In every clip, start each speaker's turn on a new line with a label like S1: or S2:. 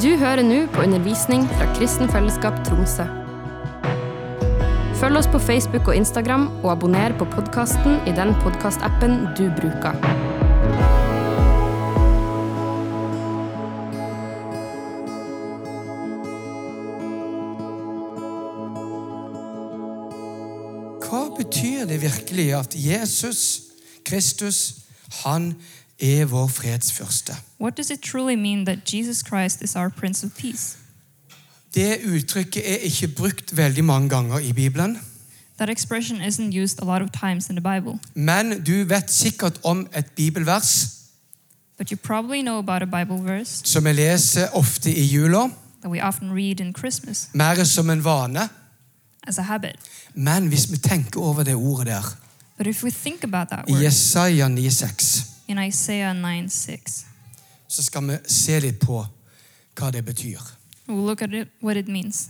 S1: Du hører nå på undervisning fra Kristen Fellesskap Tromsø. Følg oss på Facebook og Instagram, og abonner på podkasten i den podkastappen du bruker.
S2: Hva betyr det virkelig at Jesus, Kristus, han er vår fredsførste?
S3: What does it truly mean that Jesus Christ is our Prince of Peace?
S2: Det uttrykket er ikke brukt veldig mange ganger i Bibelen,
S3: That expression isn't used a lot of times in the Bible,
S2: men du vet sikkert om et bibelvers
S3: but you probably know about a Bible verse
S2: som jeg leser ofte i jula,
S3: that we often read in Christmas
S2: mer som en vane.
S3: as a habit.
S2: Men hvis vi tenker over det ordet der,
S3: But if we think about that
S2: i
S3: word
S2: Jesaja 9,6,
S3: in Isaiah 9 6,
S2: så skal vi se litt på hva det betyr.
S3: we'll look at it, what it means.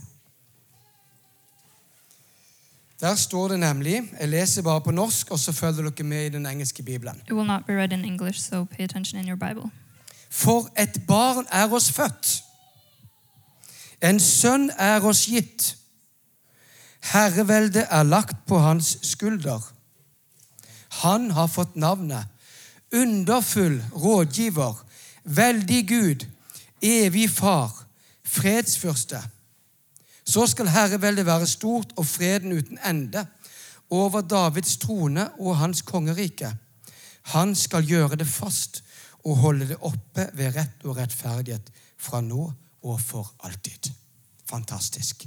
S2: Der står det nemlig Jeg leser bare på norsk, og så følger dere med i den engelske bibelen.
S3: It will not be read in English, so pay attention in your Bible.
S2: For et barn er oss født. En sønn er oss gitt. Herreveldet er lagt på hans skulder. Han har fått navnet Underfull rådgiver, veldig Gud, evig far, fredsfyrste. Så skal herreveldet være stort og freden uten ende over Davids trone og hans kongerike. Han skal gjøre det fast og holde det oppe ved rett og rettferdighet fra nå og for alltid. Fantastisk.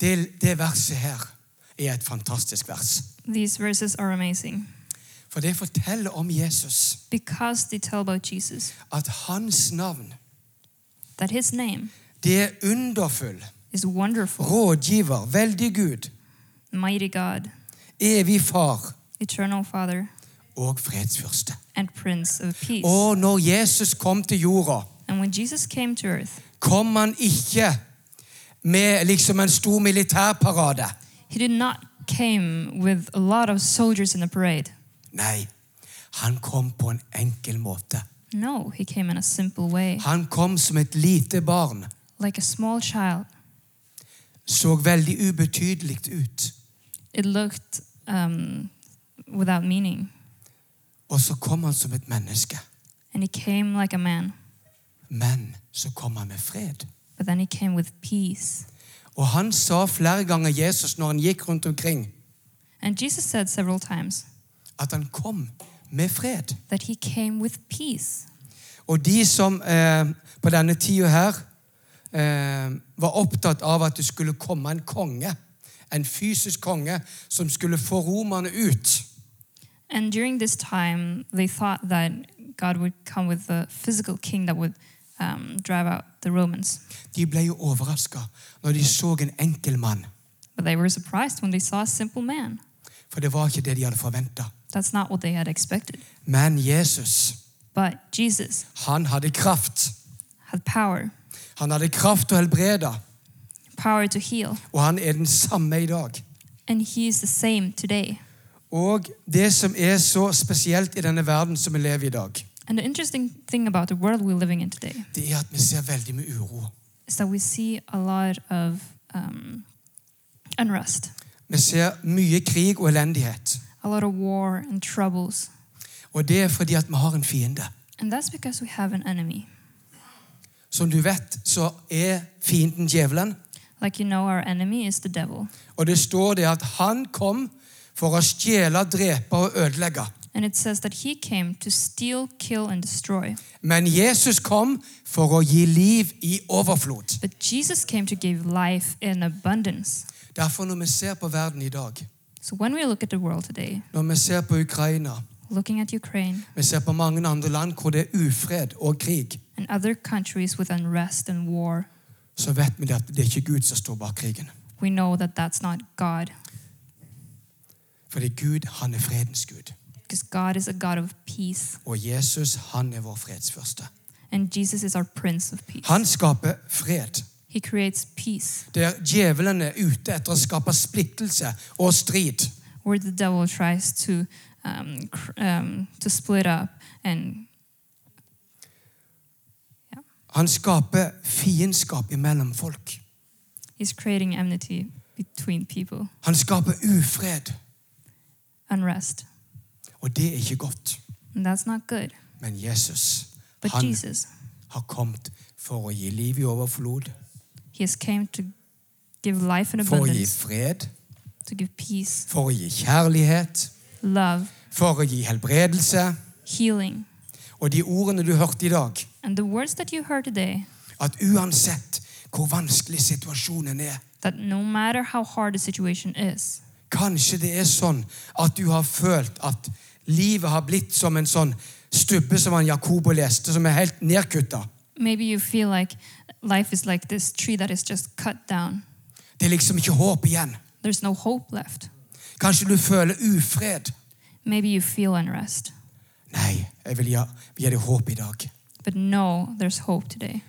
S2: Det, det verset her er et fantastisk vers.
S3: These verses are amazing
S2: For det forteller om Jesus
S3: because they tell about Jesus,
S2: at hans navn,
S3: that his name
S2: det er underfull,
S3: is wonderful,
S2: rådgiver, veldig Gud,
S3: mighty God,
S2: evig far
S3: eternal Father,
S2: og fredsfyrste.
S3: and Prince of Peace.
S2: Og når Jesus kom til jorda,
S3: And when Jesus came to earth,
S2: kom han ikke med liksom en stor militærparade.
S3: He did not came with a lot of soldiers in a parade.
S2: Nei, han kom på en enkel måte.
S3: No, he came in a simple way,
S2: Han kom som et lite barn,
S3: like a small child.
S2: så veldig ubetydelig ut,
S3: It looked um, without meaning,
S2: og så kom han som et menneske.
S3: and he came like a man.
S2: Men så kom han med fred.
S3: But then he came with peace.
S2: Og han sa flere ganger Jesus når han gikk rundt omkring,
S3: And Jesus said several times
S2: at han kom med fred.
S3: that he came with peace.
S2: Og de som eh, på denne tida her eh, var opptatt av at det skulle komme en konge, en fysisk konge, som skulle få romerne ut,
S3: And during this time, they thought that God would come with a physical king that would um, drive out the Romans.
S2: de ble jo overraska når de så en enkel mann.
S3: But they were surprised when they saw a simple man.
S2: For det var ikke det de hadde forventa.
S3: That's not what they had expected.
S2: Men Jesus,
S3: But Jesus
S2: han hadde kraft.
S3: had power,
S2: Han hadde kraft til å helbrede,
S3: power to heal,
S2: og han er den samme i dag.
S3: and he is the same today.
S2: Og det som er så spesielt i denne verden som vi lever i i dag,
S3: And the interesting thing about the world we're living in today
S2: det er at vi ser veldig med uro.
S3: is that we see a lot of um, unrest,
S2: Vi ser mye krig og elendighet.
S3: a lot of war and troubles.
S2: Og det er fordi at vi har en fiende.
S3: And that's because we have an enemy.
S2: Som du vet, så er fienden djevelen.
S3: Like you know, our enemy is the devil.
S2: Og det står det at han kom for å stjele, drepe og ødelegge.
S3: And it says that he came to steal, kill, and destroy.
S2: Men Jesus kom for å gi liv i overflod.
S3: But Jesus came to give life in abundance.
S2: Derfor når vi ser på verden i dag,
S3: So when we look at the world today,
S2: når vi ser på Ukraina,
S3: looking at Ukraine,
S2: vi ser på mange andre land hvor det er ufred og krig,
S3: and other countries with unrest and war,
S2: så vet vi det at det er ikke Gud som står bak krigen.
S3: we know that that's not God,
S2: Fordi Gud, han er fredens Gud.
S3: because God is a God of peace,
S2: Og Jesus, han er vår fredsførste.
S3: and Jesus is our Prince of Peace.
S2: Han skaper fred.
S3: He creates peace,
S2: Der djevelen er ute etter å skape splittelse og strid.
S3: where the devil tries to um, cr- um, to split up and
S2: Han skaper fiendskap imellom folk.
S3: He's creating enmity between people,
S2: Han skaper ufred,
S3: unrest.
S2: og det er ikke godt.
S3: And that's not good.
S2: Men Jesus,
S3: But
S2: han
S3: Jesus,
S2: har kommet for å gi liv i overflod,
S3: He has came to give life in
S2: for å gi
S3: abundance,
S2: fred,
S3: to give peace,
S2: for å gi kjærlighet,
S3: love,
S2: for å gi helbredelse.
S3: healing.
S2: Og de ordene du hørte i dag,
S3: And the words that you heard today,
S2: at uansett hvor vanskelig situasjonen er,
S3: that no matter how hard the situation is,
S2: kanskje det er sånn at du har følt at livet har blitt som en sånn stubbe som han Jakobo leste, som er helt nedkutta.
S3: maybe you feel like life is like this tree that is just cut down.
S2: Det er liksom ikke håp igjen.
S3: There's no hope left.
S2: Kanskje du føler ufred.
S3: Maybe you feel unrest.
S2: Nei, jeg vil gi, gi deg håp i dag.
S3: But no, there's hope today.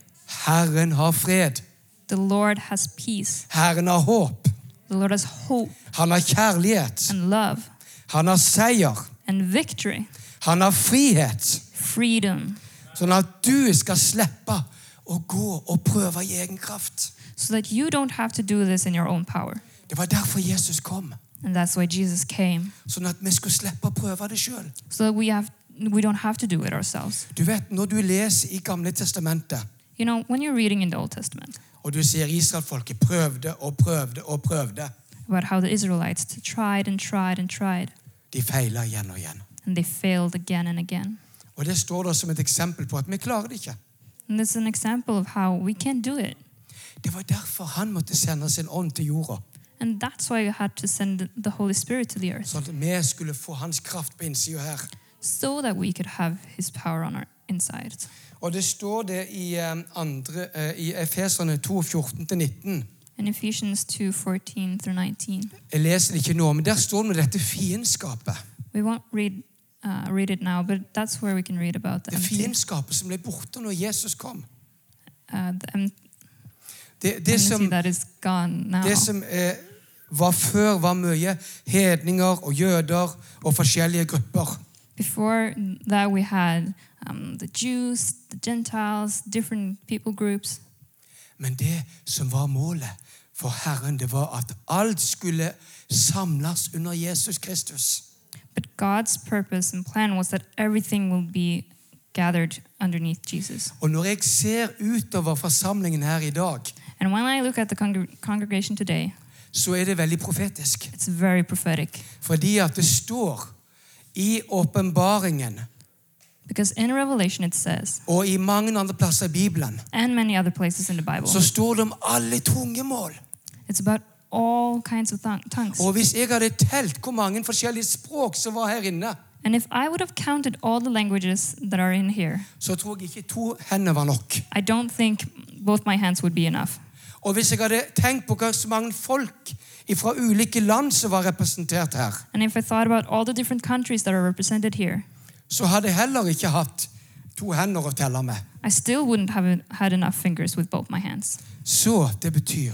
S2: Herren har fred.
S3: The Lord has peace.
S2: Herren har håp.
S3: The Lord has hope
S2: Han har kjærlighet.
S3: and love
S2: Han har seier.
S3: and victory,
S2: Han har frihet.
S3: freedom,
S2: Sånn at du skal slippe å gå og prøve i egen kraft.
S3: so that you don't have to do this in your own power.
S2: Det var derfor Jesus kom.
S3: And that's why Jesus came,
S2: Sånn at vi skulle slippe å prøve det sjøl.
S3: so that we have we don't have to do it ourselves.
S2: Du vet, når du leser i Gamle testamentet,
S3: You know, when you're reading in the Old Testament
S2: og du ser israelfolket prøvde og prøvde og prøvde
S3: about how the Israelites t- tried and tried and tried,
S2: De feiler igjen og igjen.
S3: and they failed again and again.
S2: Og Det står da som et eksempel på at vi klarer det ikke.
S3: And this is an example of how we can't do it.
S2: Det var derfor han måtte sende sin ånd til jorda.
S3: And that's why you had to send the Holy Spirit to the earth,
S2: Sånn at vi skulle få hans kraft på innsida her.
S3: so that we could have His power on our insides.
S2: Og det står det i, eh, andre, eh, i Efeserne 2, 14-19.
S3: In Ephesians 2 14 through 19.
S2: Jeg leser det ikke nå, men der står det om dette fiendskapet.
S3: We won't read, uh, read it now, but that's where we can read about the
S2: Det
S3: empty,
S2: fiendskapet som ble borte når Jesus kom.
S3: uh, the em-
S2: Det, det,
S3: enmity
S2: som,
S3: that is gone now.
S2: det som eh, var før, var mye hedninger og jøder og forskjellige grupper.
S3: Before that, we had um, the Jews, the Gentiles, different people groups.
S2: Men det som var målet for Herren, det var at alt skulle samles under Jesus Kristus.
S3: But God's purpose and plan was that everything will be gathered underneath Jesus.
S2: Og når jeg ser utover forsamlingen her i dag,
S3: And when I look at the congre- congregation today,
S2: så er det veldig profetisk.
S3: it's very prophetic.
S2: Fordi at det står i åpenbaringen
S3: Because in Revelation it says,
S2: og i mange andre plasser i Bibelen
S3: and many other places in the Bible,
S2: så står det om alle tungemål.
S3: it's about all kinds of tongue- tongues.
S2: Og hvis jeg hadde telt hvor mange forskjellige språk som var her inne,
S3: And if I would have counted all the languages that are in here,
S2: så tror jeg ikke to hender var nok.
S3: I don't think both my hands would be enough.
S2: Og hvis jeg hadde tenkt på hvor så mange folk fra ulike land som var representert her,
S3: And if I thought about all the different countries that are represented here,
S2: så hadde jeg heller ikke hatt to hender å telle med.
S3: I still wouldn't have had enough fingers with both my hands.
S2: Så det betyr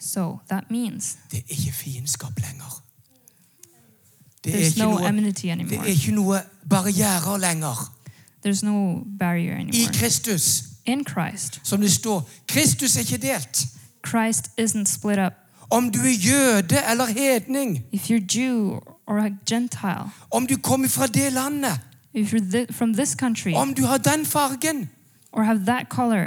S3: So that means
S2: det er ikke fiendskap lenger. Det er
S3: there's
S2: ikke
S3: no
S2: noe,
S3: enmity
S2: det
S3: anymore.
S2: er ikke noe barrierer lenger.
S3: There's no barrier
S2: I
S3: anymore.
S2: Kristus
S3: In Christ,
S2: som det står. Kristus er ikke delt.
S3: Christ isn't split up.
S2: Om du er jøde eller hedning,
S3: If you're Jew or a Gentile,
S2: om du kommer fra det landet,
S3: if you're thi- from this country
S2: om du har den fargen
S3: or have that color,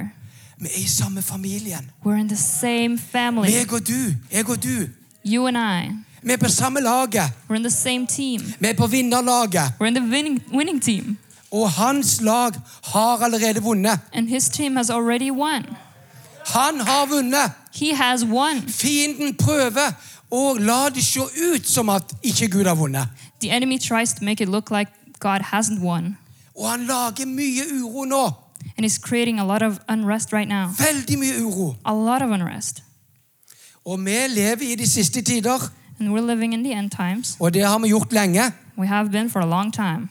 S2: Vi er i samme familien.
S3: we're in the same family.
S2: Meg og du, jeg og du.
S3: You and I,
S2: Vi er på samme laget.
S3: we're in the same team.
S2: Vi er på vinnerlaget.
S3: We're in the winning, winning team,
S2: Og hans lag har allerede vunnet.
S3: and his team has already won.
S2: Han har vunnet.
S3: He has won.
S2: Fienden prøver å la det se ut som at ikke Gud har vunnet.
S3: The enemy tries to make it look like God hasn't won,
S2: Og han lager mye uro nå.
S3: and he's creating a lot of unrest right now.
S2: Veldig mye uro.
S3: A lot of unrest.
S2: Og vi lever i de siste tider,
S3: And we're living in the end times.
S2: og det har vi gjort lenge.
S3: We have been for a long time.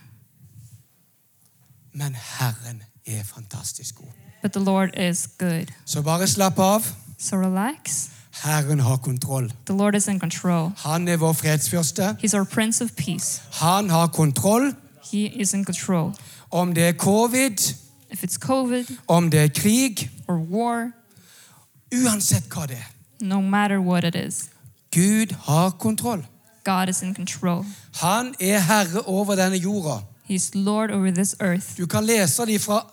S2: Men Herren er fantastisk god.
S3: But the Lord is good.
S2: Så bare slapp av.
S3: So relax.
S2: Herren har kontroll.
S3: The Lord is in control.
S2: Han er vår fredsfyrste.
S3: He's our Prince of Peace.
S2: Han har kontroll.
S3: He is in control.
S2: Om det er covid,
S3: if it's COVID
S2: om det er krig,
S3: or war,
S2: uansett hva det er.
S3: no matter what it is,
S2: Gud har kontroll.
S3: God is in control.
S2: Han er herre over denne jorda.
S3: He's Lord over this earth.
S2: Du kan lese det fra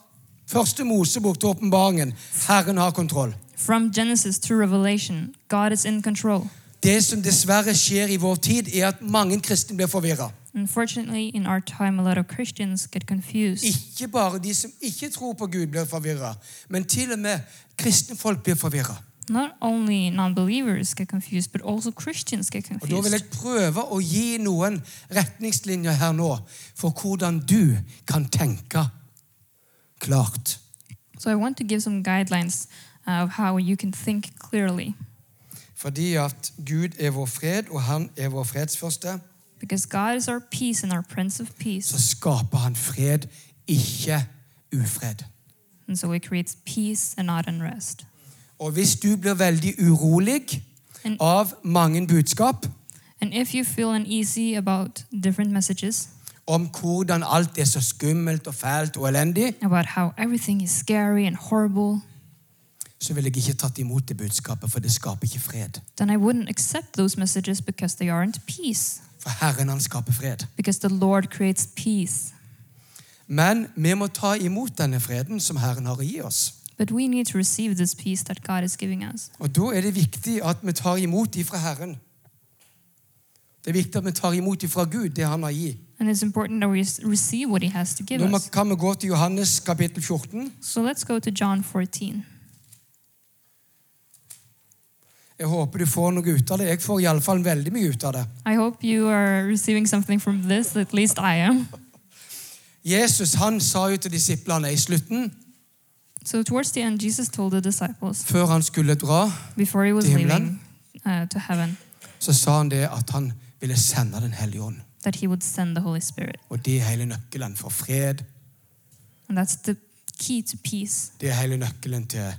S2: første Mosebok til åpenbaringen. Herren har kontroll.
S3: From Genesis to Revelation, God is in control.
S2: Det som dessverre skjer i vår tid, er at mange kristne blir forvirra.
S3: Unfortunately, in our time, a lot of Christians get confused.
S2: Ikke bare de som ikke tror på Gud, blir forvirra, men til og med kristne folk blir forvirra.
S3: Not only non believers get confused, but also Christians get
S2: Og Da vil
S3: confused.
S2: jeg prøve å gi noen retningslinjer her nå for hvordan du kan tenke klart.
S3: So I want to give some guidelines uh, of how you can think clearly,
S2: Fordi at Gud er vår fred, og han er vår fredsførste,
S3: because God is our peace and our Prince of
S2: så
S3: Peace.
S2: skaper han fred, ikke ufred.
S3: And so He creates peace and not unrest.
S2: Og hvis du blir veldig urolig
S3: En-
S2: av mange budskap
S3: And if you feel uneasy about different messages,
S2: om hvordan alt er så skummelt og fælt og elendig,
S3: about how everything is scary and horrible,
S2: så ville jeg ikke tatt imot det budskapet, for det skaper ikke fred.
S3: then I wouldn't accept those messages because they aren't peace,
S2: For Herren, han skaper fred.
S3: because the Lord creates peace.
S2: Men vi må ta imot denne freden som Herren har å gi oss.
S3: But we need to receive this peace that God is giving us.
S2: Og da er det viktig at vi tar imot de fra Herren. Det er viktig at vi tar imot de fra Gud, det han har gitt.
S3: And it's important that we receive what He has to give
S2: Nå må-
S3: us.
S2: kan vi gå til Johannes kapittel 14.
S3: So let's go to John 14.
S2: Jeg håper du får noe ut av det. Jeg får iallfall veldig mye ut av det.
S3: I hope you are receiving something from this, at least I am.
S2: Jesus han sa jo til disiplene i slutten,
S3: So, towards the end, Jesus told the disciples
S2: før han skulle dra,
S3: before he was
S2: Til
S3: leaving uh, to heaven
S2: så sa han det at han ville sende Den hellige ånd.
S3: that he would send the Holy Spirit.
S2: Og det er hele nøkkelen for fred.
S3: And that's the key to peace
S2: Det er hele nøkkelen til å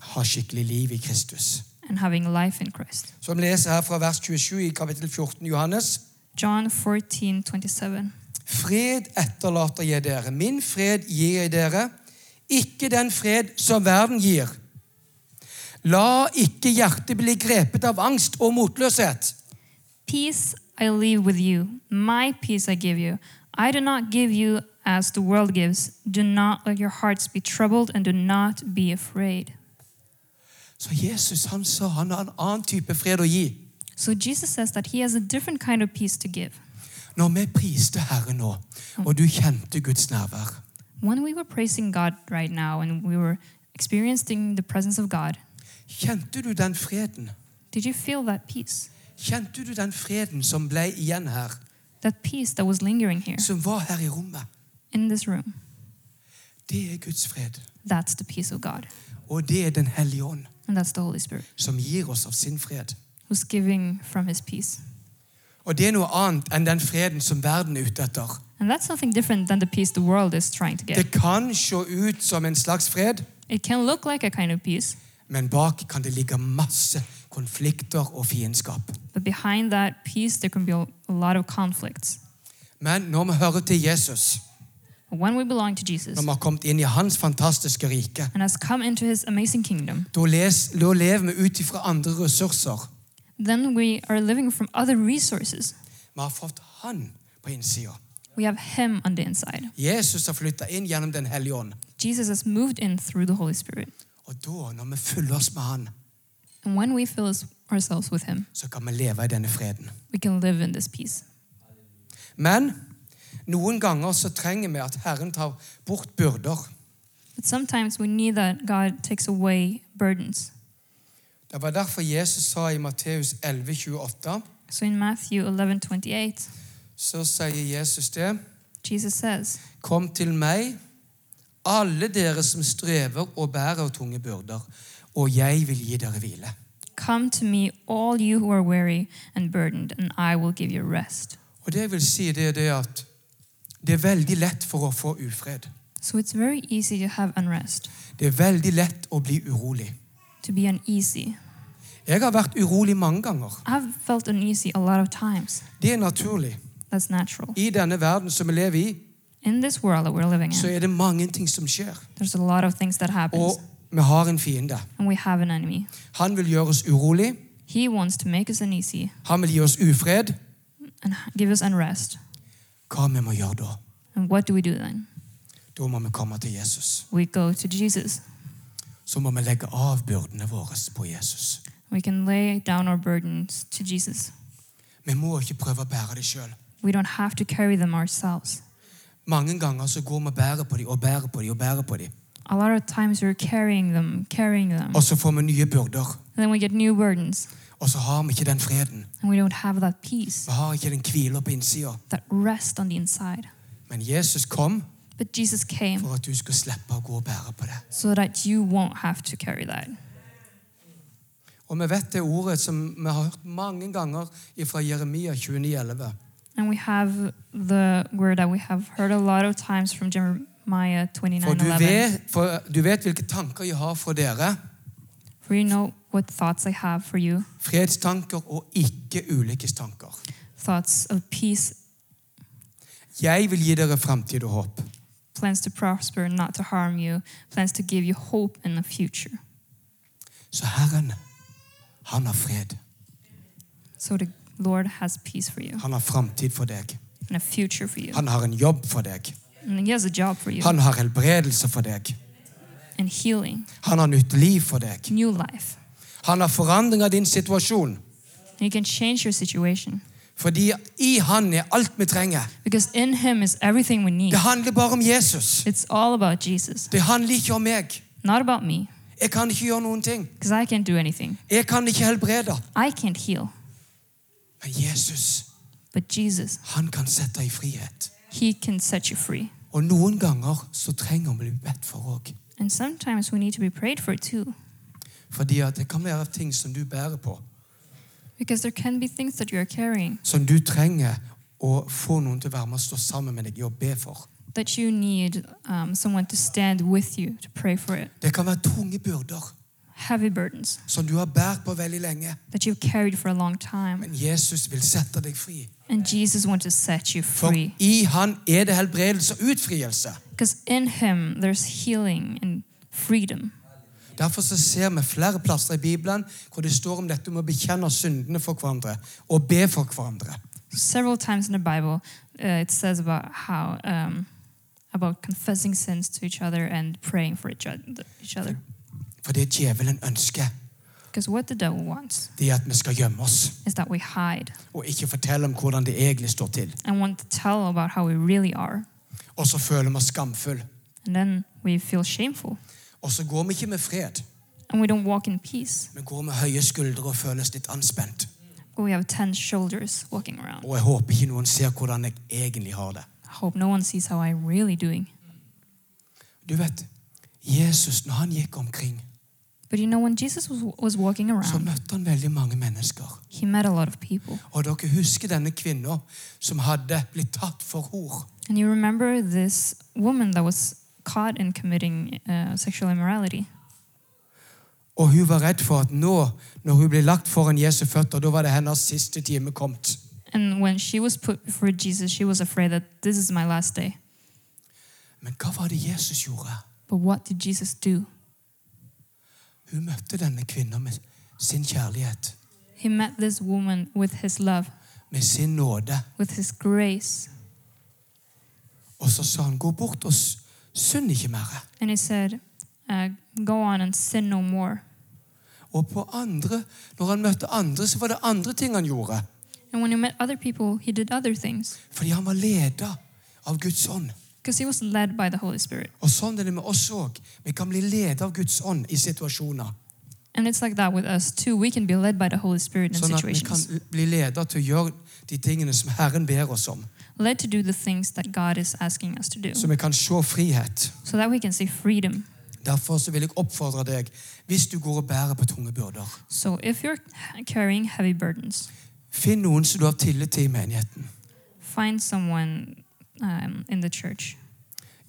S2: ha skikkelig liv i Kristus.
S3: and having life in Christ.
S2: Så vi leser her fra vers 27 i kapittel 14, Johannes.
S3: John 14 27.
S2: Fred etterlater jeg dere. Min fred gir jeg dere, ikke den fred som verden gir. La ikke hjertet bli grepet av angst og motløshet.
S3: Peace I leave with you, my peace I give you. I do not give you as the world gives. Do not let your hearts be troubled and do not be afraid.
S2: Så Jesus han sa han har en annen type fred å gi.
S3: So Jesus says that he has a different kind of peace to give.
S2: Når vi priste Herren nå, og du kjente Guds nærvær,
S3: When we were praising God right now and we were experiencing the presence of God,
S2: kjente du den freden?
S3: did you feel that peace?
S2: Kjente du den freden som ble igjen her,
S3: That peace that was lingering here
S2: som var her i rommet?
S3: in this room?
S2: Det er Guds fred,
S3: That's the peace of God.
S2: og det er Den hellige ånd,
S3: And that's the Holy Spirit
S2: som gir oss av sin fred.
S3: who's giving from his peace.
S2: Og det er noe annet enn den freden som verden er ute etter.
S3: And that's something different than the peace the world is trying to
S2: Det
S3: get.
S2: kan se ut som en slags fred,
S3: It can look like a kind of peace,
S2: men bak kan det ligge masse konflikter og fiendskap.
S3: but behind that peace, there can be a a lot of conflicts.
S2: Men når vi hører til Jesus,
S3: But when we belong to Jesus
S2: når vi har kommet inn i hans fantastiske rike,
S3: and has come into his amazing kingdom,
S2: da les- da lever vi ut ifra andre ressurser.
S3: then we are living from other resources.
S2: Vi har fått han på innsida.
S3: We have him on the inside.
S2: Jesus har flytta inn gjennom Den hellige ånd.
S3: Jesus has moved in through the Holy Spirit.
S2: Og da, når vi følger oss med han,
S3: And when we fill us- ourselves with Him,
S2: så kan vi leve i denne freden.
S3: we can live in this peace.
S2: Men noen ganger så trenger vi at Herren tar bort byrder.
S3: But sometimes we need that God takes away burdens.
S2: Det var derfor Jesus sa i Matteus 11,28
S3: So in Matthew 11 28,
S2: Så sier Jesus det.
S3: Jesus says,
S2: Kom til meg, alle dere som strever og bærer tunge byrder, og jeg vil gi dere hvile.
S3: Come to me, all you who are weary and burdened, and I will give you rest.
S2: Og det jeg vil si, det er det at det er veldig lett for å få ufred.
S3: So it's very easy to have unrest,
S2: Det er veldig lett å bli urolig.
S3: to be uneasy.
S2: Jeg har vært urolig mange ganger.
S3: I've felt uneasy a lot of times.
S2: Det er naturlig.
S3: That's natural.
S2: I denne verden som vi lever i,
S3: In this world that we're living
S2: så
S3: in,
S2: er det mange ting som skjer.
S3: there's a lot of things that happens,
S2: Og vi har en fiende.
S3: and we have an enemy.
S2: Han vil gjøre oss urolig.
S3: He wants to make us uneasy
S2: Han vil gi oss ufred.
S3: and give us unrest.
S2: Hva vi må gjøre da?
S3: And what do we do then?
S2: Da må vi komme til Jesus.
S3: We go to Jesus.
S2: Så må vi legge av byrdene våre på Jesus.
S3: We can lay down our burdens to Jesus.
S2: Vi må ikke prøve å bære det sjøl.
S3: We don't have to carry them ourselves.
S2: Mange ganger så går vi og bærer på dem og bærer på dem og bærer på dem.
S3: A lot of times we're carrying them, carrying them,
S2: Og så får vi nye byrder.
S3: and then we get new burdens,
S2: Og så har vi ikke den freden.
S3: and we don't have that peace,
S2: Vi har ikke den hvila på innsida.
S3: that rest on the inside.
S2: Men Jesus kom
S3: But Jesus came
S2: for at du skulle slippe å gå og bære på det.
S3: so that you won't have to carry that.
S2: Og vi vet det ordet som vi har hørt mange ganger fra Jeremia 29,11.
S3: And we have the word that we have heard a lot of times from Jeremiah
S2: For,
S3: 29
S2: du
S3: 11.
S2: vet- for du vet hvilke tanker jeg har for dere.
S3: For you know what thoughts I have for you
S2: Fredstanker og ikke ulykkestanker.
S3: thoughts of peace,
S2: Jeg vil gi dere framtid og håp.
S3: plans to prosper, not to harm you, plans to give you hope in the future.
S2: Så Herren, han har fred.
S3: So the Lord has peace for you
S2: Han har framtid for deg.
S3: and a future for you.
S2: Han har en jobb for deg.
S3: And He has a job for you
S2: Han har helbredelse for deg.
S3: and healing,
S2: Han har nytt liv for deg.
S3: new life.
S2: Han har forandring av din situasjon.
S3: And you can change your situation
S2: Fordi i han er alt vi trenger.
S3: because in Him is everything we need.
S2: Det handler bare om Jesus.
S3: It's all about Jesus,
S2: Det handler ikke om meg.
S3: not about me
S2: Jeg kan ikke gjøre noen ting.
S3: because I can't do anything.
S2: Jeg kan ikke helbrede.
S3: I can't heal,
S2: Men Jesus,
S3: but Jesus,
S2: han kan sette deg i frihet.
S3: He can set you free.
S2: Og noen ganger så trenger vi å bli bedt for òg.
S3: And sometimes we need to be prayed for too
S2: Fordi at det kan være ting som du bærer på,
S3: because there can be things that you're carrying
S2: som du trenger å få noen til å være med og stå sammen med deg i å be for.
S3: that you need um, someone to stand with you to pray for it.
S2: Det kan være tunge byrder
S3: Heavy burdens
S2: som du har båret på veldig lenge.
S3: that you've carried for a long time.
S2: Men Jesus vil sette deg fri.
S3: And Jesus wants to set you
S2: For
S3: free.
S2: i han er det helbredelse og utfrielse.
S3: Because in Him there's healing and freedom.
S2: Derfor så ser vi flere plasser i Bibelen hvor det står om dette med å bekjenne syndene for hverandre og be for hverandre.
S3: Several times in the Bible, uh, it says about how um, about confessing sins to each other and praying for each oth- each other.
S2: For det djevelen ønsker,
S3: Because what the devil wants
S2: det er at vi skal gjemme oss
S3: is that we hide
S2: og ikke fortelle om hvordan det egentlig står til.
S3: and want to tell about how we really are,
S2: Og så føler vi oss skamfulle.
S3: and then we feel shameful
S2: Og så går vi ikke med fred,
S3: and we don't walk in peace.
S2: vi går med høye skuldre og føles litt anspent.
S3: But we have tense shoulders walking around.
S2: Og jeg håper ikke noen ser hvordan jeg egentlig har det.
S3: I hope no one sees how I'm really doing.
S2: Du vet, Jesus, når han gikk omkring,
S3: But you know, when Jesus was, was walking
S2: så
S3: around,
S2: møtte han veldig mange mennesker.
S3: he met a lot of people.
S2: Og dere husker denne kvinna som hadde blitt tatt for hor.
S3: And you remember this woman that was caught in committing uh, sexual immorality.
S2: Og hun var redd for at nå, når hun ble lagt foran Jesu føtter, da var det hennes siste time kommet.
S3: And when she was put before Jesus, she was afraid that this is my last day.
S2: Men hva var det Jesus gjorde?
S3: But what did Jesus do?
S2: Hun møtte denne kvinna med sin kjærlighet,
S3: He met this woman with his love,
S2: med sin nåde.
S3: with his grace.
S2: Og så sa han, gå bort og s- synd ikke mer.
S3: And he said, uh, Go on and sin no more.
S2: Og på andre, når han møtte andre, så var det andre ting han gjorde.
S3: And when he met other people, he did other things
S2: Fordi han var leda av Guds ånd.
S3: because he was led by the Holy Spirit.
S2: Og sånn er det med oss òg. Vi kan bli ledet av Guds ånd i situasjoner.
S3: And it's like that with us too. We can be led by the Holy Spirit in
S2: Sånn at vi kan
S3: situations,
S2: bli ledet til å gjøre de tingene som Herren ber oss om.
S3: led to do the things that God is asking us to do
S2: Så vi kan se frihet.
S3: so that we can see freedom.
S2: Derfor så vil jeg oppfordre deg, hvis du går og bærer på tunge byrder,
S3: So if you're carrying heavy burdens,
S2: finn noen som du har tillit til i menigheten.
S3: find someone um, in the church,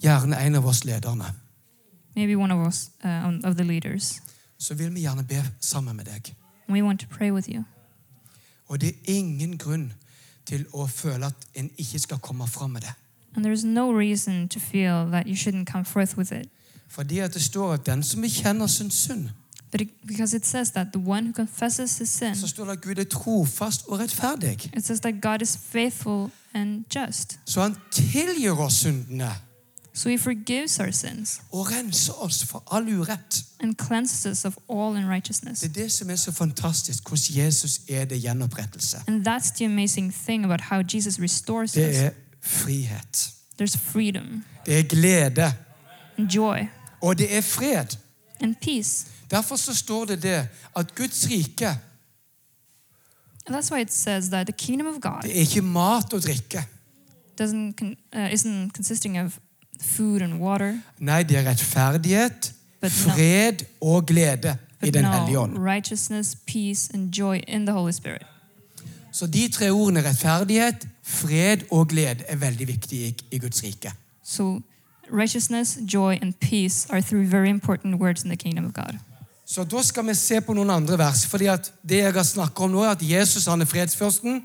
S2: Gjerne en av oss lederne.
S3: maybe one of us, uh, um, of the leaders.
S2: Så vil vi gjerne be sammen med deg.
S3: We want to pray with you.
S2: Og det er ingen grunn til å føle at en ikke skal komme fram med det.
S3: And there's no reason to feel that you shouldn't come forth with it.
S2: Fordi at det står at den som bekjenner sin synd,
S3: But it, because it says that the one who confesses his sin,
S2: så står det at Gud er trofast og rettferdig.
S3: it says that God is faithful and just.
S2: Så han tilgir oss syndene
S3: So he forgives our sins
S2: og renser oss for all urett.
S3: and cleanses us of all unrighteousness.
S2: Det er det som er så fantastisk, hvordan Jesus er det gjenopprettelse.
S3: And that's the amazing thing about how Jesus restores
S2: Det
S3: us.
S2: er frihet.
S3: There's freedom
S2: Det er glede.
S3: and joy
S2: Og det er fred.
S3: and peace.
S2: Derfor så står det det at Guds rike,
S3: And that's why it says that the kingdom of God
S2: det er ikke mat og drikke.
S3: doesn't con- uh, isn't consisting of food and water,
S2: Nei, det er rettferdighet,
S3: But no-
S2: fred og glede i
S3: but
S2: Den
S3: no,
S2: hellige ånd.
S3: righteousness, peace, and joy in the Holy Spirit.
S2: Så de tre ordene rettferdighet, fred og glede er veldig viktige i, i Guds rike.
S3: So, righteousness, joy, and peace are three very important words in the kingdom of God.
S2: Så da skal vi se på noen andre vers, fordi at det jeg har snakket om nå, er at Jesus han er fredsførsten.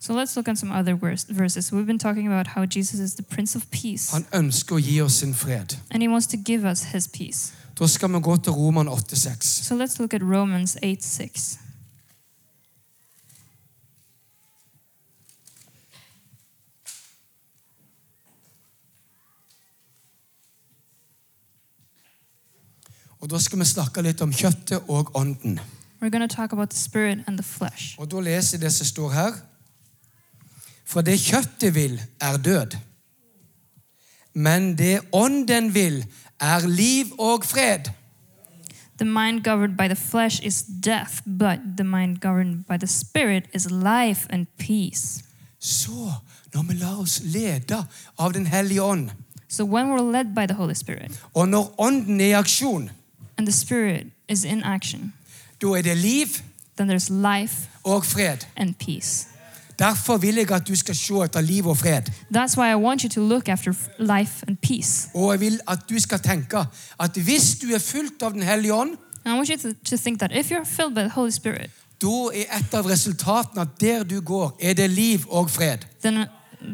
S3: So let's look at some other vers- verses. We've been talking about how Jesus is the Prince of Peace,
S2: Han ønsker å gi oss sin fred.
S3: and He wants to give us His peace.
S2: Da skal vi gå til Roman 8,6.
S3: So let's look at Romans 8 6.
S2: Og da skal vi snakke litt om kjøttet og ånden.
S3: We're going to talk about the spirit and the flesh.
S2: Og da leser jeg det som står her. For det kjøttet vil, er død. Men det ånden vil, er liv og fred.
S3: The mind governed by the flesh is death, but the mind governed by the spirit is life and peace.
S2: Så, når vi lar oss lede av Den hellige ånd,
S3: So when we're led by the Holy Spirit
S2: og når ånden er i aksjon,
S3: and the spirit is in action,
S2: da er det liv
S3: then there's life
S2: og fred.
S3: and peace.
S2: Derfor vil jeg at du skal se etter liv og fred.
S3: That's why I want you to look after f- life and peace.
S2: Og jeg vil at du skal tenke at hvis du er fulgt av Den hellige ånd,
S3: And I want you to, to think that if you're filled by the Holy Spirit,
S2: Da er et av resultatene at der du går, er det liv og fred.
S3: then uh,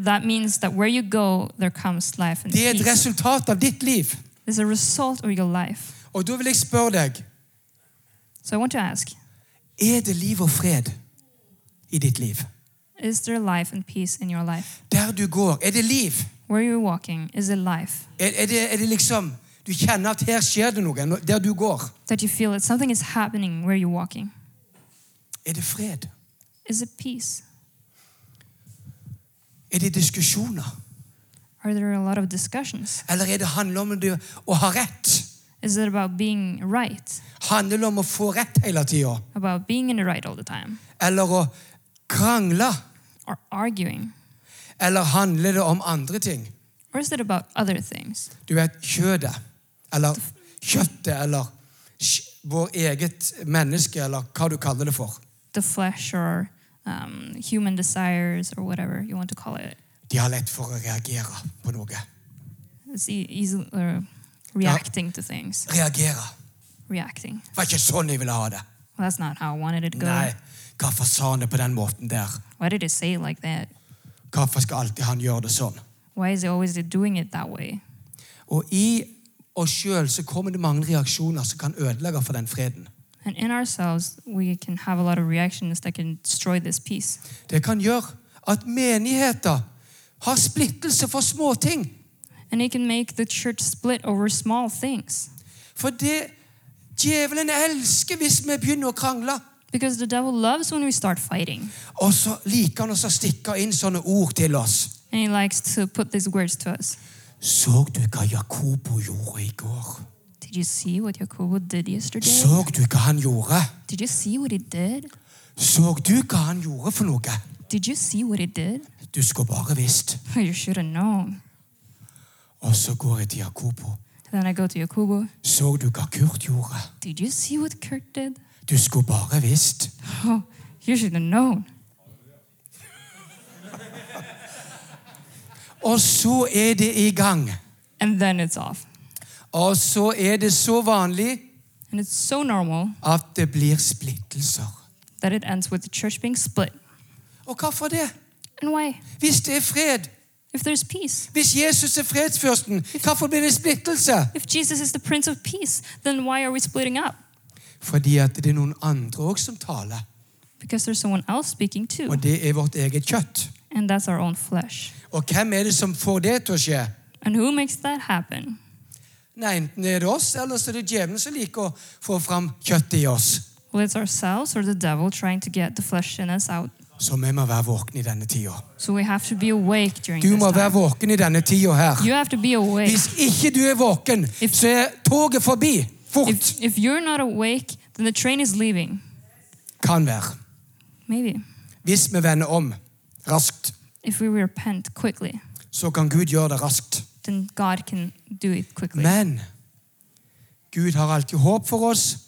S3: that means that where you go, there comes life and
S2: Det er et
S3: peace.
S2: resultat av ditt liv.
S3: It's a result of your life.
S2: Og da vil jeg spørre deg
S3: So I want to ask
S2: er det liv og fred i ditt liv.
S3: Is there life and peace in your life?
S2: Der du går, er det liv?
S3: Where you're walking, is it life?
S2: Er, er, det, er det liksom Du kjenner at her skjer det noe nå- der du går.
S3: That you feel that something is happening where you're walking?
S2: Er det fred?
S3: Is it peace?
S2: Er det diskusjoner?
S3: Are there a lot of discussions?
S2: Eller er det handler om det å ha rett?
S3: Is it about being right?
S2: Handler det om å få rett hele tida?
S3: About being in the right all the time?
S2: Eller å krangle?
S3: Or arguing?
S2: Eller handler det om andre ting?
S3: Or is it about other things?
S2: du vet, kjødet, eller kjøttet, eller sj- vår eget menneske, eller hva du kaller det for.
S3: The flesh or um, human desires or whatever you want to call it.
S2: De har lett for å reagere på noe.
S3: It's e- easy, or reacting to things.
S2: Reagere.
S3: Reacting.
S2: Det var ikke sånn jeg ville ha det.
S3: Well, that's not how I wanted it to go.
S2: Nei, hvorfor sa han det på den måten der?
S3: Why did it say it like that?
S2: Hvorfor skal alltid han gjøre det sånn?
S3: Why is it always doing it that way?
S2: Og i oss sjøl så kommer det mange reaksjoner som kan ødelegge for den freden.
S3: And in ourselves, we can have a lot of reactions that can destroy this peace.
S2: Det kan gjøre at menigheter har splittelse for småting.
S3: And it can make the church split over small things.
S2: For det djevelen elsker hvis vi begynner å krangle.
S3: Because the devil loves when we start fighting.
S2: Og så liker han også å stikke inn sånne ord til oss.
S3: And he likes to put these words to us.
S2: Så du hva Jakobo gjorde i går?
S3: Did you see what Jacobo did yesterday?
S2: Så du hva han gjorde?
S3: did you see what he did?
S2: Så du hva han gjorde for noe?
S3: Did you see what he did?
S2: Du skulle bare visst.
S3: you should have known.
S2: Og så går jeg til Jakobo.
S3: Then I go to Jacobo.
S2: Så du hva Kurt gjorde?
S3: Did you see what Kurt did?
S2: Du skulle bare visst.
S3: Oh, you should have known.
S2: Og så er det i gang.
S3: And then it's off.
S2: Og så er det så vanlig
S3: And it's so normal
S2: at det blir splittelser.
S3: that it ends with the church being split.
S2: Og hvorfor det?
S3: And why?
S2: Hvis det er fred,
S3: If there's peace,
S2: Hvis Jesus er fredsfyrsten, hvorfor blir det splittelse?
S3: if Jesus is the Prince of Peace, then why are we splitting up?
S2: Fordi at det er noen andre òg som taler,
S3: Because there's someone else speaking too,
S2: og det er vårt eget kjøtt.
S3: and that's our own flesh.
S2: Og hvem er det som får det til å skje?
S3: And who makes that happen?
S2: Nei, Enten er det oss, eller så er det djevelen som liker å få fram kjøttet i oss.
S3: Well, it's ourselves or the devil trying to get the flesh in us out.
S2: Så vi må være våkne i denne tida.
S3: So we have to be awake during
S2: Du
S3: this
S2: må være
S3: time.
S2: våken i denne tida her.
S3: You have to be awake.
S2: Hvis ikke du er våken,
S3: If-
S2: så er toget forbi. Fort.
S3: If, if you're not awake, then the train is leaving.
S2: Kan være.
S3: Maybe.
S2: Hvis vi vender om raskt,
S3: If we repent quickly,
S2: så kan Gud gjøre det raskt.
S3: then God can do it quickly.
S2: Men Gud har alltid håp for oss.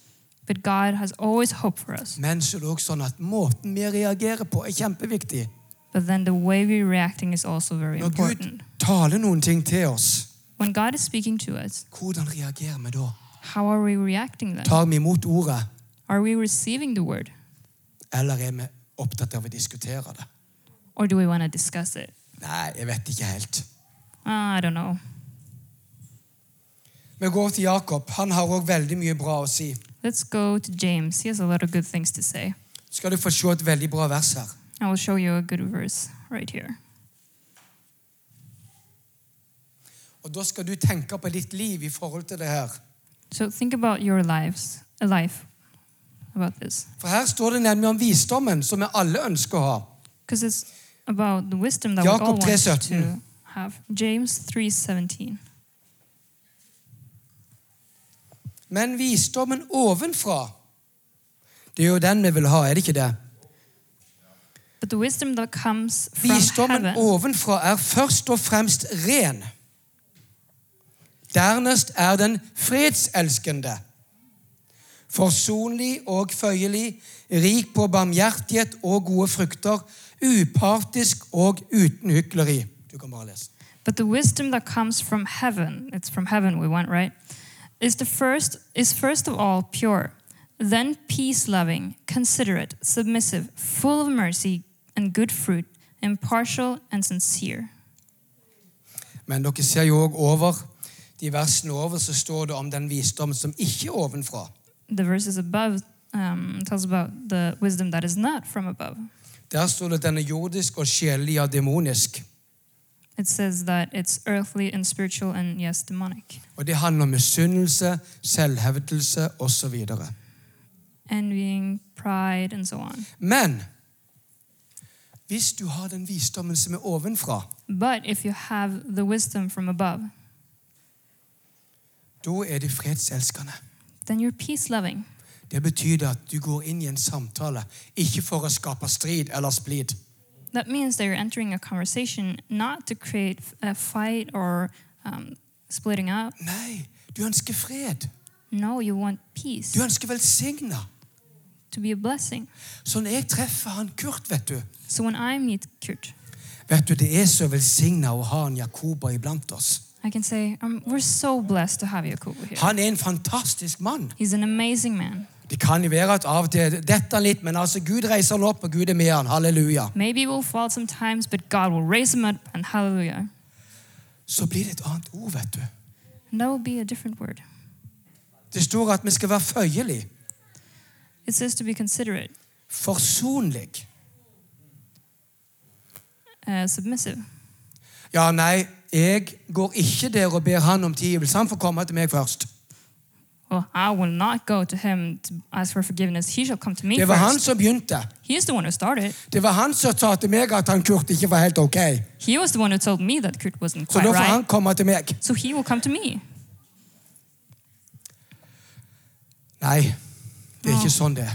S3: But God has always hope for us.
S2: Men så er det også sånn at måten vi reagerer på, er kjempeviktig.
S3: But then the way we're reacting is also very
S2: Når Gud
S3: important.
S2: taler noen ting til oss,
S3: When God is speaking to us,
S2: hvordan reagerer vi da?
S3: how are we reacting then?
S2: Tar vi imot ordet,
S3: Are we receiving the word
S2: eller er vi opptatt av å diskutere det?
S3: or do we want to discuss it?
S2: Nei, jeg vet ikke helt.
S3: Uh, I don't know.
S2: Vi går til Jakob. Han har òg veldig mye bra å si.
S3: Let's go to James. He has a lot of good things to say.
S2: Skal du få se et veldig bra vers her.
S3: I will show you a good verse right here.
S2: Og Da skal du tenke på ditt liv i forhold til det her.
S3: So think about your lives, a life about this.
S2: For her står det nemlig om visdommen, som vi alle ønsker å ha.
S3: Because it's about the wisdom that we all
S2: Jakob
S3: want
S2: 3:17.
S3: to have. James 3.17
S2: Men visdommen ovenfra, det er jo den vi vil ha, er det ikke det?
S3: But the wisdom that comes from
S2: Visdommen
S3: heaven,
S2: ovenfra er først og fremst ren. Dernest er den fredselskende, forsonlig og føyelig, rik på barmhjertighet og gode frukter, upartisk og uten hykleri. Du kan bare lese.
S3: but the wisdom that comes from heaven, it's from heaven we want, right? Is the first is first of all pure, then peace loving, considerate, submissive, full of mercy and good fruit, impartial and sincere.
S2: Men dere ser jo òg over de versene over, så står det om den visdom som ikke er ovenfra.
S3: The verses above um, tells about the wisdom that is not from above.
S2: Der står det at den er jordisk og sjelelig og demonisk.
S3: It says that it's earthly and spiritual and yes, demonic.
S2: Og det handler om misunnelse, selvhevdelse osv.
S3: Envying, pride, and so on.
S2: Men hvis du har den visdommen som er ovenfra,
S3: But if you have the wisdom from above,
S2: da er det fredselskende.
S3: then you're peace loving.
S2: Det betyr at du går inn i en samtale, ikke for å skape strid eller splid,
S3: That means that you're entering a conversation not to create a fight or um, splitting up.
S2: Nei, du ønsker fred.
S3: No, you want
S2: Du
S3: peace
S2: ønsker velsigna.
S3: to be a blessing.
S2: Så når jeg treffer han Kurt, vet du
S3: So when I meet Kurt,
S2: Vet du, Det er så velsigna å ha en Jakoba iblant oss.
S3: I can say, um, We're so blessed to have Yakubu here.
S2: Han er en fantastisk mann.
S3: He's an amazing man.
S2: Det kan jo være at av og til detter han litt, men altså Gud reiser han opp, og Gud er med han. Halleluja.
S3: Maybe we'll fall sometimes, but God will raise him up, and hallelujah.
S2: Så blir det et annet ord, vet du.
S3: And that will be a different word.
S2: Det står at vi skal være føyelig,
S3: It says to be considerate,
S2: forsonlig.
S3: uh, submissive.
S2: Ja, nei, jeg går ikke der og ber han om tilgivelse. Han får komme til meg først.
S3: Well, I will not go to him to ask for forgiveness. He shall come to me
S2: Det var han
S3: first.
S2: som begynte.
S3: He is the one who started.
S2: Det var han som sa til meg at han Kurt ikke var helt ok.
S3: He was the one who told me that Kurt wasn't
S2: Så
S3: quite
S2: da får
S3: right.
S2: han komme til meg.
S3: So he will come to me.
S2: Nei, det er ikke sånn det er.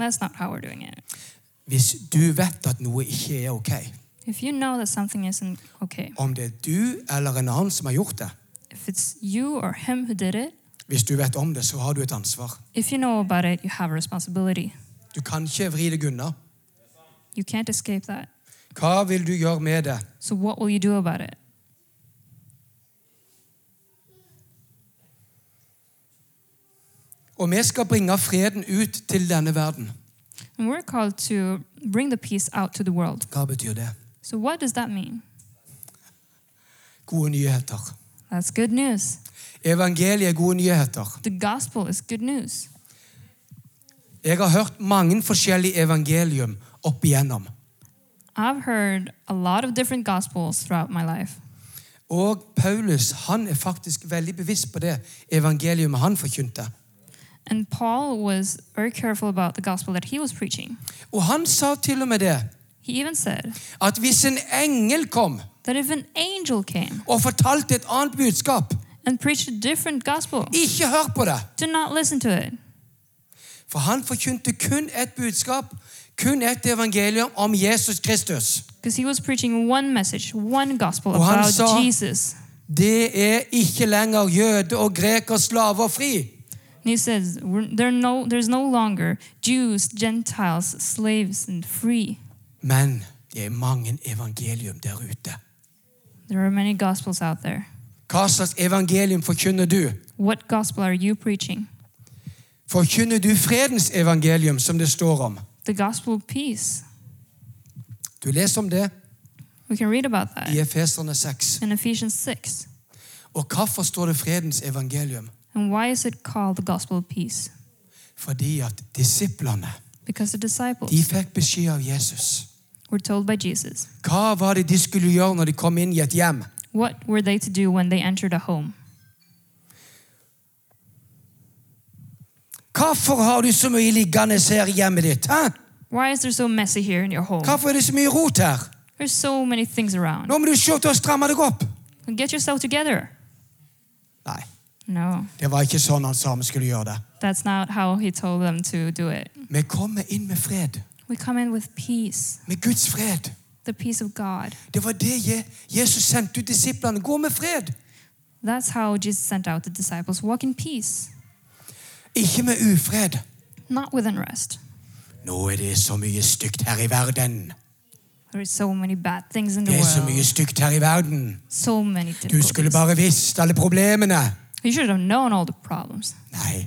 S3: That's not how we're doing it.
S2: Hvis du vet at noe ikke er ok,
S3: If you know that something isn't okay,
S2: om det er du eller en annen som har gjort det,
S3: if it's you or him who did it,
S2: hvis du vet om det, så har du et ansvar.
S3: if you know about it, you have a responsibility.
S2: Du kan ikke vri deg unna.
S3: You can't escape that.
S2: Hva vil du gjøre med det?
S3: So what will you do about it?
S2: Og vi skal bringe freden ut til denne verden.
S3: And we're called to bring the peace out to the world.
S2: Hva betyr det?
S3: So what does that mean?
S2: gode nyheter.
S3: That's good news.
S2: Evangeliet er gode nyheter.
S3: The gospel is good news.
S2: Jeg har hørt mange forskjellige evangelium opp igjennom.
S3: I've heard a lot of different gospels throughout my life.
S2: Og Paulus han er faktisk veldig bevisst på det evangeliumet han forkynte.
S3: And Paul was very careful about the gospel that he was preaching.
S2: Og han sa til og med det
S3: He even said
S2: at hvis en engel kom
S3: that if an angel came
S2: og fortalte et annet budskap,
S3: and preached a different gospel,
S2: ikke hør på det!
S3: do not listen to it.
S2: For han forkynte kun et budskap, kun et evangelium om Jesus Kristus.
S3: Because he was preaching one message, one gospel
S2: Och han
S3: about
S2: sa-
S3: Jesus.
S2: Det er ikke lenger jøde og greker, slave og fri.
S3: And he says, "We're- there are no, there's no longer Jews, Gentiles, slaves, and free.
S2: Men det er mange evangelium der ute.
S3: There are many gospels out there.
S2: Hva slags evangelium forkynner du?
S3: What gospel are you preaching?
S2: Forkynner du fredens evangelium, som det står om?
S3: The gospel of peace.
S2: Du leser om det
S3: We can read about that
S2: i Efeserne 6.
S3: in Ephesians 6.
S2: Og hvorfor står det fredens evangelium?
S3: And why is it called the gospel of peace?
S2: Fordi at disiplene
S3: Because the disciples
S2: de fikk beskjed av Jesus.
S3: were told by Jesus
S2: Hva var det de skulle gjøre når de kom inn i et hjem?
S3: what were they to do when they entered a home.
S2: Hvorfor har du så mye liggende her i hjemmet ditt? Hæ?
S3: Why is there so messy here in your home?
S2: Hvorfor er det så mye rot her?
S3: There's so many things around.
S2: Nå må du se til å stramme deg opp.
S3: Get yourself together.
S2: Nei,
S3: No,
S2: det var ikke sånn han sa vi skulle gjøre det.
S3: that's not how he told them to do it.
S2: Vi kommer inn med fred.
S3: We come in with peace,
S2: Med Guds fred.
S3: the peace of God.
S2: Det var det Je- Jesus sendte ut disiplene. Gå med fred.
S3: That's how Jesus sent out the disciples walk in peace,
S2: Ikke med ufred.
S3: not with unrest.
S2: Nå er det så mye stygt her i verden.
S3: There is so many bad things in the
S2: Det er så mye
S3: world.
S2: stygt her i verden.
S3: So many
S2: Du skulle
S3: difficulties.
S2: bare visst alle problemene.
S3: You should have known all the problems.
S2: Nei.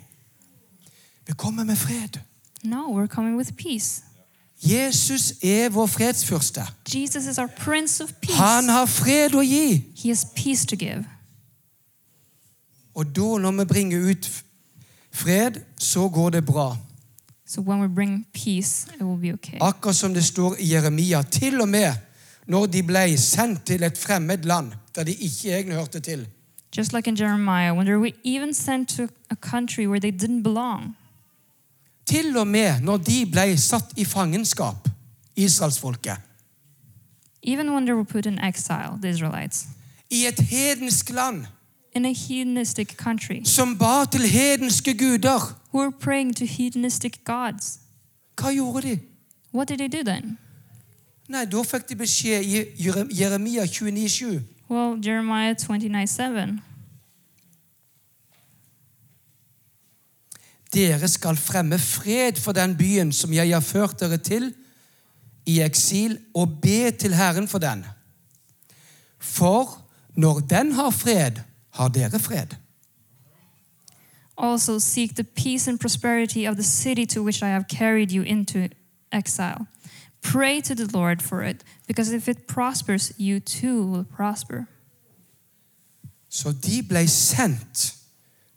S2: Vi kommer med fred.
S3: No, we're coming with peace.
S2: Jesus er vår fredsfyrste.
S3: Jesus is our Prince of Peace.
S2: Han har fred å gi.
S3: He has peace to give.
S2: Og da, når vi bringer ut f- fred, så går det bra.
S3: So when we bring peace, it will be okay.
S2: Akkurat som det står i Jeremia, til og med når de ble sendt til et fremmed land der de ikke egentlig hørte til.
S3: Just like in Jeremiah, when they were even sent to a country where they didn't belong,
S2: Til og med når de ble satt i fangenskap, israelsfolket,
S3: even when they were put in exile, the Israelites,
S2: i et hedensk land
S3: in a hedonistic country,
S2: som ba til hedenske guder.
S3: who were praying to hedonistic gods.
S2: Hva gjorde de?
S3: What did they do then?
S2: Nei, da fikk de beskjed i Jere- Jeremia 29,7.
S3: Well, Jeremiah 29 7.
S2: Dere skal fremme fred for den byen som jeg har ført dere til i eksil, og be til Herren for den. For når den har fred, har dere fred.
S3: Also seek the peace and prosperity of the city to which I have carried you into exile. Pray to the Lord for it, because if it prospers, you too will prosper.
S2: Så de ble sendt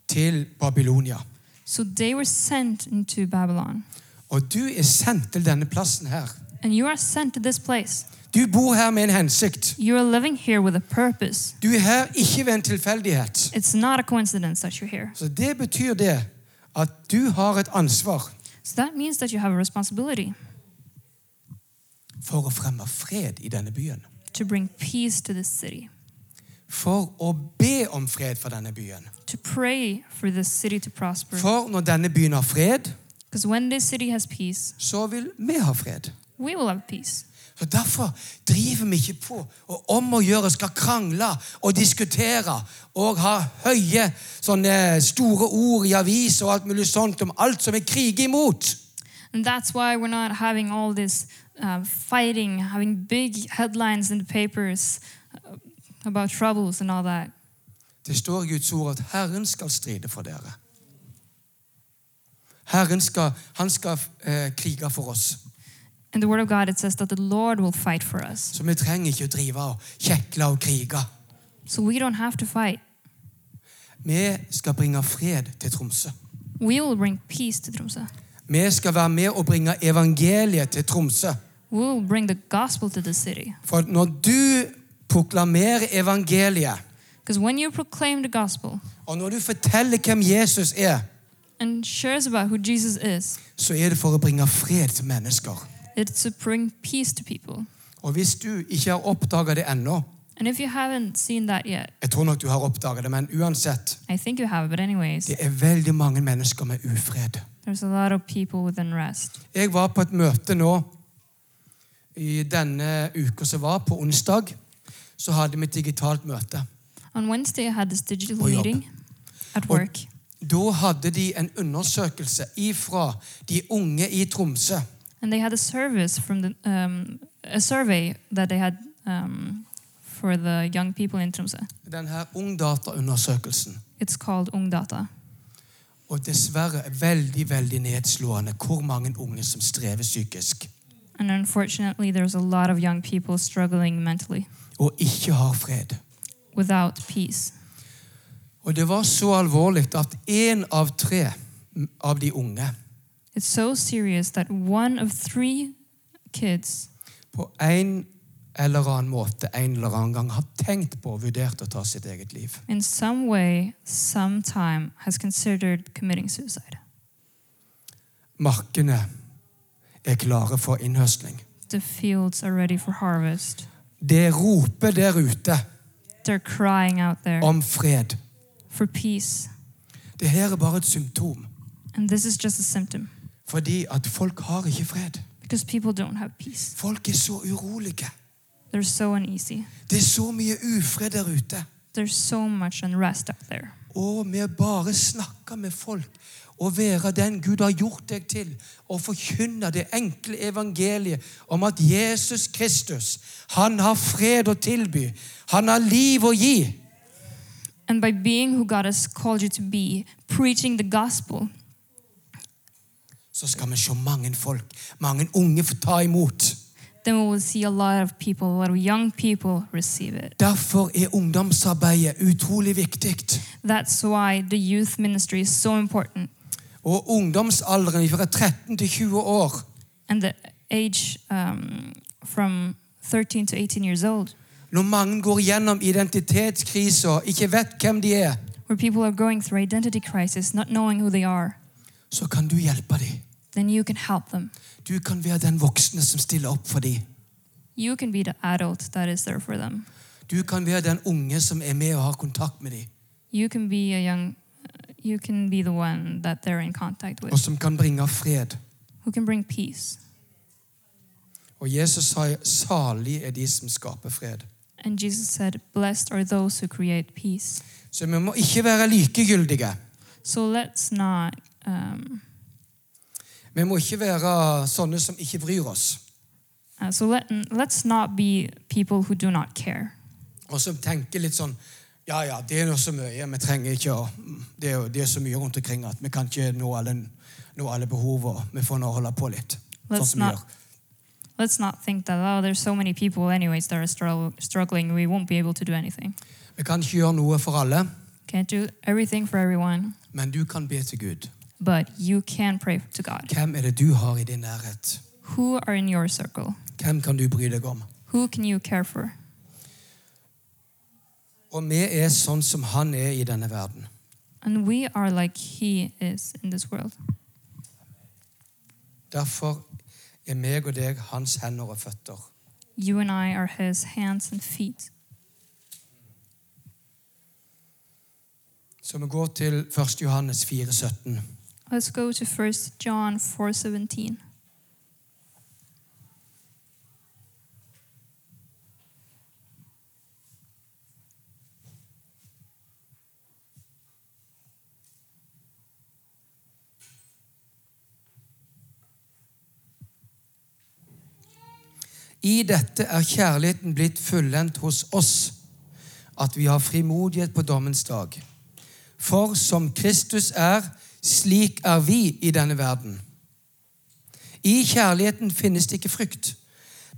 S2: til Babylonia.
S3: So they were sent into Babylon.
S2: Og du er sendt til denne plassen her.
S3: And you are sent to this place.
S2: Du bor her med en hensikt.
S3: You are living here with a purpose.
S2: Du er her ikke ved en tilfeldighet.
S3: It's not a coincidence that you're here.
S2: Så det betyr det at du har et ansvar
S3: So that means that you have a responsibility
S2: for å fremme fred i denne byen.
S3: to bring peace to this city,
S2: For å be om fred for denne byen.
S3: to pray for this city to prosper.
S2: For når denne byen har fred,
S3: Because when this city has peace,
S2: så vil vi ha fred.
S3: we will have peace.
S2: Så Derfor driver vi ikke på og om å gjøre skal krangle og diskutere og ha høye, sånne store ord i avis og alt mulig sånt om alt som vi kriger imot.
S3: And that's why we're not having all this um, fighting, having big headlines in the papers uh, about troubles and all that.
S2: Det står i Guds ord at Herren skal stride for dere. Herren skal, han skal eh, krige for oss.
S3: In the Word of God, it says that the Lord will fight for us.
S2: Så vi trenger ikke å drive og kjekle og krige.
S3: So we don't have to fight.
S2: Vi skal bringe fred til Tromsø.
S3: We will bring peace to Tromsø.
S2: Vi skal være med og bringe evangeliet til Tromsø.
S3: We will bring the gospel to the city.
S2: For når du proklamerer evangeliet,
S3: Because when you proclaim the gospel
S2: og når du forteller hvem Jesus er,
S3: and shares about who Jesus is,
S2: så er det for å bringe fred til mennesker.
S3: it's to bring peace to people.
S2: Og hvis du ikke har oppdaga det ennå
S3: And if you haven't seen that yet,
S2: Jeg tror nok du har oppdaga det, men uansett
S3: I think you have, but anyways,
S2: Det er veldig mange mennesker med ufred.
S3: there's a lot of people with unrest.
S2: Jeg var på et møte nå i denne uka som var, på onsdag. Så hadde vi et digitalt møte.
S3: On Wednesday, I had this digital
S2: Oi, jobb.
S3: meeting at
S2: Oi.
S3: work.
S2: Da hadde de en undersøkelse ifra de unge i Tromsø.
S3: and they had a service from the um, a survey that they had um, for the young people in Tromsø.
S2: Denne ungdataundersøkelsen.
S3: It's called Ungdata,
S2: Og dessverre er veldig veldig nedslående hvor mange unge som strever psykisk
S3: and unfortunately, there's a lot of young people struggling mentally
S2: og ikke har fred.
S3: without peace.
S2: Og det var så alvorlig at én av tre av de unge
S3: It's so serious that one of three kids
S2: på en eller annen måte en eller annen gang har tenkt på og vurdert å ta sitt eget liv.
S3: in some way sometime has considered committing suicide
S2: Markene er klare for innhøstning.
S3: the fields are ready for harvest
S2: Det roper der ute
S3: they're crying out there
S2: om fred.
S3: for peace
S2: Det her er bare et symptom.
S3: and this is just a symptom
S2: Fordi at folk har ikke fred.
S3: because people don't have peace
S2: Folk er så urolige.
S3: They're so uneasy.
S2: Det er så mye ufred der ute.
S3: There's so much unrest out there.
S2: Og vi bare snakker med folk og være den Gud har gjort deg til, og forkynne det enkle evangeliet om at Jesus Kristus, han har fred å tilby. Han har liv å gi.
S3: And by being who God has called you to be, preaching the gospel,
S2: Så skal vi se mange folk, mange unge, få ta imot.
S3: then we will see a lot of people, a lot of young people receive it.
S2: Derfor er ungdomsarbeidet utrolig viktig.
S3: That's why the youth ministry is so important.
S2: Og ungdomsalderen fra 13 til 20 år
S3: And the age um, from 13 to 18 years old,
S2: Når mange går gjennom identitetskriser, ikke vet hvem de er,
S3: where people are going through identity crisis, not knowing who they are,
S2: så kan du hjelpe dem.
S3: then you can help them.
S2: Du kan være den voksne som stiller opp for dem.
S3: You can be the adult that is there for them.
S2: Du kan være den unge som er med og har kontakt med dem,
S3: you can be a young you can be the one that they're in contact
S2: og
S3: with
S2: som kan bringe fred.
S3: who can bring peace
S2: Og Jesus sa 'salig er de som skaper fred'.
S3: and jesus said blessed are those who create peace
S2: Så vi må ikke være likegyldige.
S3: so let's not um,
S2: Vi må ikke være sånne som ikke bryr oss,
S3: uh, so let, let's not be people who do not care
S2: og som tenker litt sånn 'ja ja, det er nå så mye, vi trenger ikke å det er, jo- det er så mye rundt omkring at vi kan ikke nå alle, nå alle behov, og vi får nå holde på litt'. Sånn
S3: let's
S2: som vi
S3: not
S2: gjør.
S3: let's not think that oh there's so many people anyways that are struggle, struggling we won't be able to do anything
S2: Vi kan ikke gjøre noe for alle,
S3: can't do everything for everyone
S2: men du kan be til Gud.
S3: but you can pray to god
S2: Hvem er det du har i din nærhet?
S3: who are in your circle
S2: Hvem kan du bry deg om?
S3: who can you care for
S2: Og vi er sånn som han er i denne verden.
S3: And we are like He is in this world.
S2: Derfor er meg og deg hans hender og føtter.
S3: You and I are His hands and feet.
S2: Så vi går til 1. Johannes 4, 17.
S3: Let's go to 1 John 4:17.
S2: I dette er kjærligheten blitt fullendt hos oss, at vi har frimodighet på dommens dag. For som Kristus er, slik er vi i denne verden. I kjærligheten finnes det ikke frykt.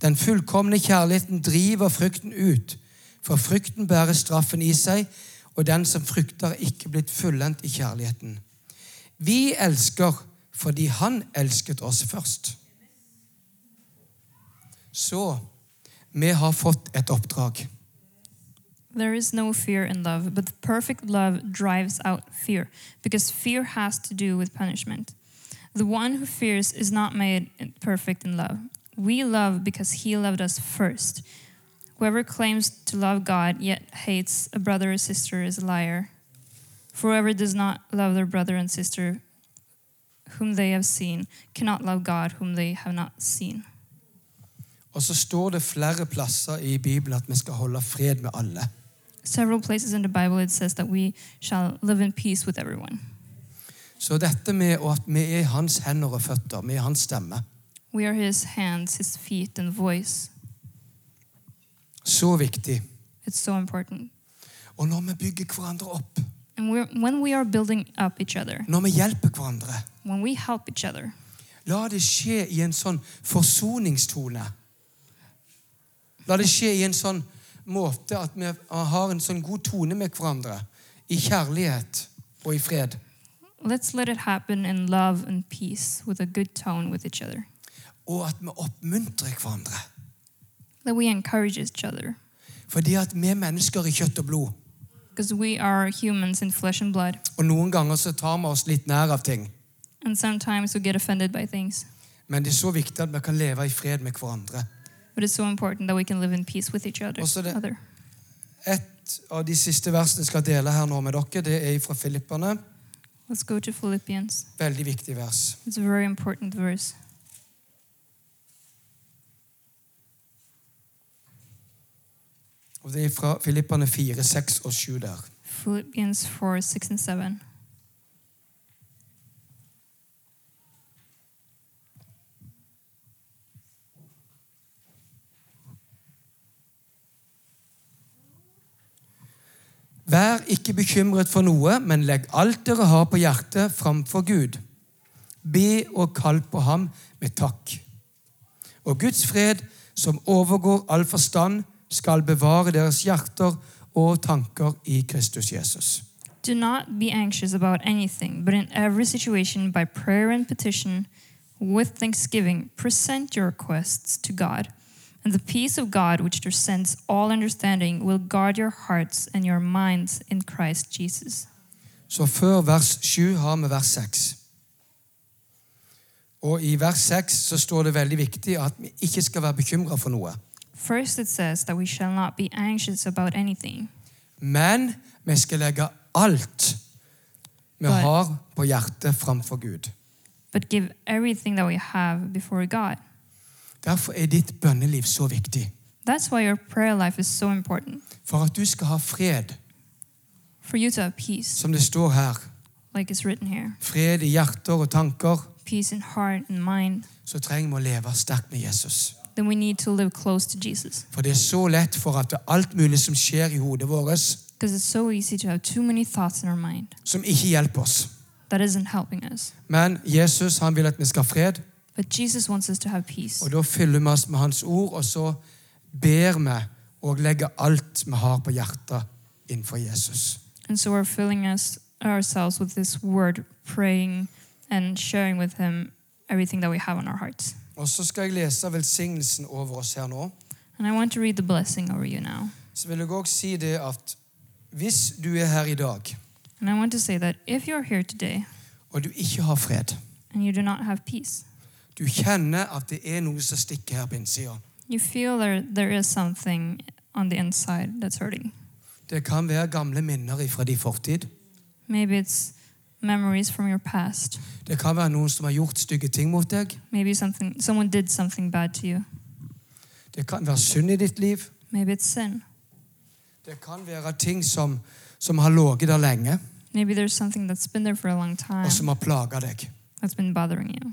S2: Den fullkomne kjærligheten driver frykten ut, For frykten bærer straffen i seg, og den som frykter, er ikke blitt fullendt i kjærligheten. Vi elsker fordi han elsket oss først. Så vi har fått et oppdrag.
S3: There is no fear in love, but perfect love drives out fear, because fear has to do with punishment. The one who fears is not made perfect in love. We love because he loved us first. Whoever claims to love God yet hates a brother or sister is a liar. For whoever does not love their brother and sister whom they have seen cannot love God whom they have not seen.
S2: Og så står det flere plasser i Bibelen at vi skal holde fred med alle.
S3: Several places in the Bible it says that we shall live in peace with everyone.
S2: Så dette med og at vi er i hans hender og føtter, vi er hans stemme,
S3: We are his hands, his feet, and voice.
S2: så viktig.
S3: It's so important.
S2: Og når vi bygger hverandre opp,
S3: And we're, when we are building up each other,
S2: når vi hjelper hverandre,
S3: when we help each other,
S2: la det skje i en sånn forsoningstone. La det skje i en sånn måte at vi har en sånn god tone med hverandre, i kjærlighet og i fred.
S3: let's let it happen in love and peace with a good tone with each other.
S2: Og at vi oppmuntrer hverandre.
S3: That we encourage each other.
S2: Fordi at vi er mennesker i kjøtt og blod.
S3: Because we are humans in flesh and blood.
S2: Og noen ganger så tar vi oss litt nær av ting.
S3: And sometimes we get offended by things.
S2: Men det er så viktig at vi kan leve i fred med hverandre.
S3: But it's so important that we can live in peace with each other.
S2: Also the-
S3: other.
S2: Et av de siste versene jeg skal dele her nå med dere, det er fra Filipperne.
S3: Let's go to Philippians.
S2: Veldig viktig vers.
S3: It's a very important verse.
S2: Og Det er fra Filipperne 4, 6 og 7 der.
S3: Philippians 4 6 and 7.
S2: Vær ikke bekymret for noe, men legg alt dere har på hjertet, framfor Gud. Be og kall på ham med takk. Og Guds fred, som overgår all forstand, skal bevare deres hjerter og tanker i Kristus Jesus.
S3: Do not be anxious about anything, but in every situation, by prayer and petition, with thanksgiving, present your requests to God. And the peace of God, which transcends all understanding, will guard your hearts and your minds in Christ Jesus.
S2: Så før vers 7 har vi vers 6. Og i vers 6 så står det veldig viktig at vi ikke skal være bekymra for noe.
S3: First, it says that we shall not be anxious about anything,
S2: Men vi skal legge alt vi
S3: Nei.
S2: har på hjertet framfor Gud.
S3: but give everything that we have before God.
S2: Derfor er ditt bønneliv så viktig.
S3: That's why your prayer life is so important
S2: For at du skal ha fred,
S3: for you to have peace,
S2: som det står her.
S3: like it's written here
S2: Fred i hjerter og tanker.
S3: peace in heart and mind.
S2: Så trenger vi å leve sterkt med Jesus.
S3: then we need to live close to Jesus.
S2: For det er så lett for at alt mulig som skjer i hodet vårt,
S3: Because it's so easy to have too many thoughts in our mind
S2: som ikke hjelper oss.
S3: that isn't helping us.
S2: Men Jesus han vil at vi skal ha fred.
S3: But Jesus wants us to have peace.
S2: Og da fyller vi oss med Hans ord, og så ber vi og legger alt vi har på hjertet innenfor Jesus.
S3: And so we're filling us ourselves with this word, praying and sharing with him everything that we have on our hearts.
S2: Og så skal jeg lese velsignelsen over oss her nå.
S3: And I want to read the blessing over you now.
S2: Så vil jeg òg si det at hvis du er her i dag,
S3: And I want to say that if you're here today
S2: og du ikke har fred
S3: and you do not have peace,
S2: Du kjenner at det er noe som stikker her på innsida.
S3: you feel there there is something on the inside that's hurting.
S2: Det kan være gamle minner fra din fortid.
S3: Maybe it's memories from your past.
S2: Det kan være noen som har gjort stygge ting mot deg.
S3: Maybe something someone did something bad to you.
S2: Det kan være synd i ditt liv.
S3: Maybe it's sin.
S2: Det kan være ting som, som har ligget der lenge,
S3: Maybe there's something that's been there for a long time
S2: og som har plaga deg.
S3: that's been bothering you.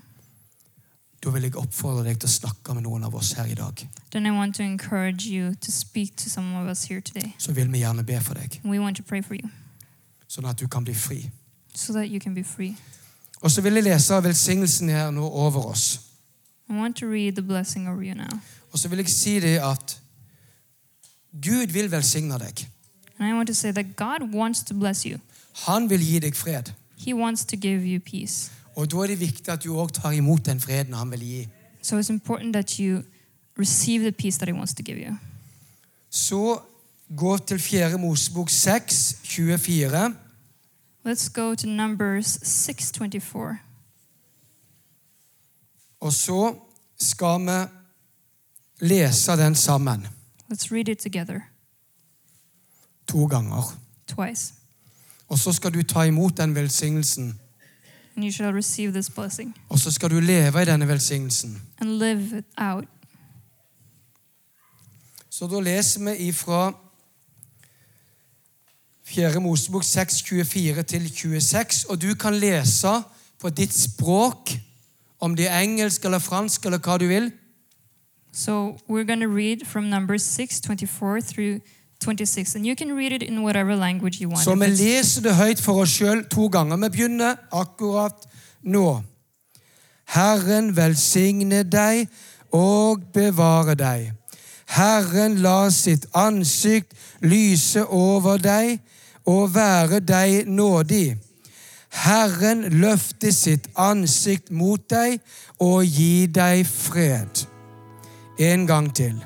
S2: Da vil jeg oppfordre deg til å snakke med noen av oss her i dag.
S3: Then I want to encourage you to speak to some of us here today.
S2: Så vil vi gjerne be for deg,
S3: And we want to pray for you
S2: sånn at du kan bli fri.
S3: so that you can be free.
S2: Og så vil jeg lese velsignelsen her nå over oss.
S3: I want to read the blessing over you now.
S2: Og så vil jeg si det at Gud vil velsigne deg.
S3: And I want to say that God wants to bless you.
S2: Han vil gi deg fred.
S3: He wants to give you peace.
S2: Og da er det viktig at du òg tar imot den freden han vil gi.
S3: So it's important that you receive the peace that He wants to give you.
S2: Så gå til 4. Mosebok 6, 24.
S3: Let's go to Numbers 6:24.
S2: Og så skal vi lese den sammen
S3: Let's read it together
S2: to ganger.
S3: twice.
S2: Og så skal du ta imot den velsignelsen.
S3: And you shall receive this blessing
S2: Og så skal du leve i denne velsignelsen.
S3: and live it out.
S2: Så da leser vi ifra 4. Mosebok 6, 24 til 26, og du kan lese på ditt språk, om det er engelsk eller fransk eller hva du vil.
S3: So we're going to read from Numbers 6:24 through 26 and you can read it in whatever language you want.
S2: Så
S3: If
S2: vi
S3: it's-
S2: leser det høyt for oss sjøl to ganger. Vi begynner akkurat nå. Herren velsigne deg og bevare deg. Herren lar sitt ansikt lyse over deg og være deg nådig. Herren løfte sitt ansikt mot deg og gi deg fred. En gang til.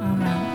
S3: Amen.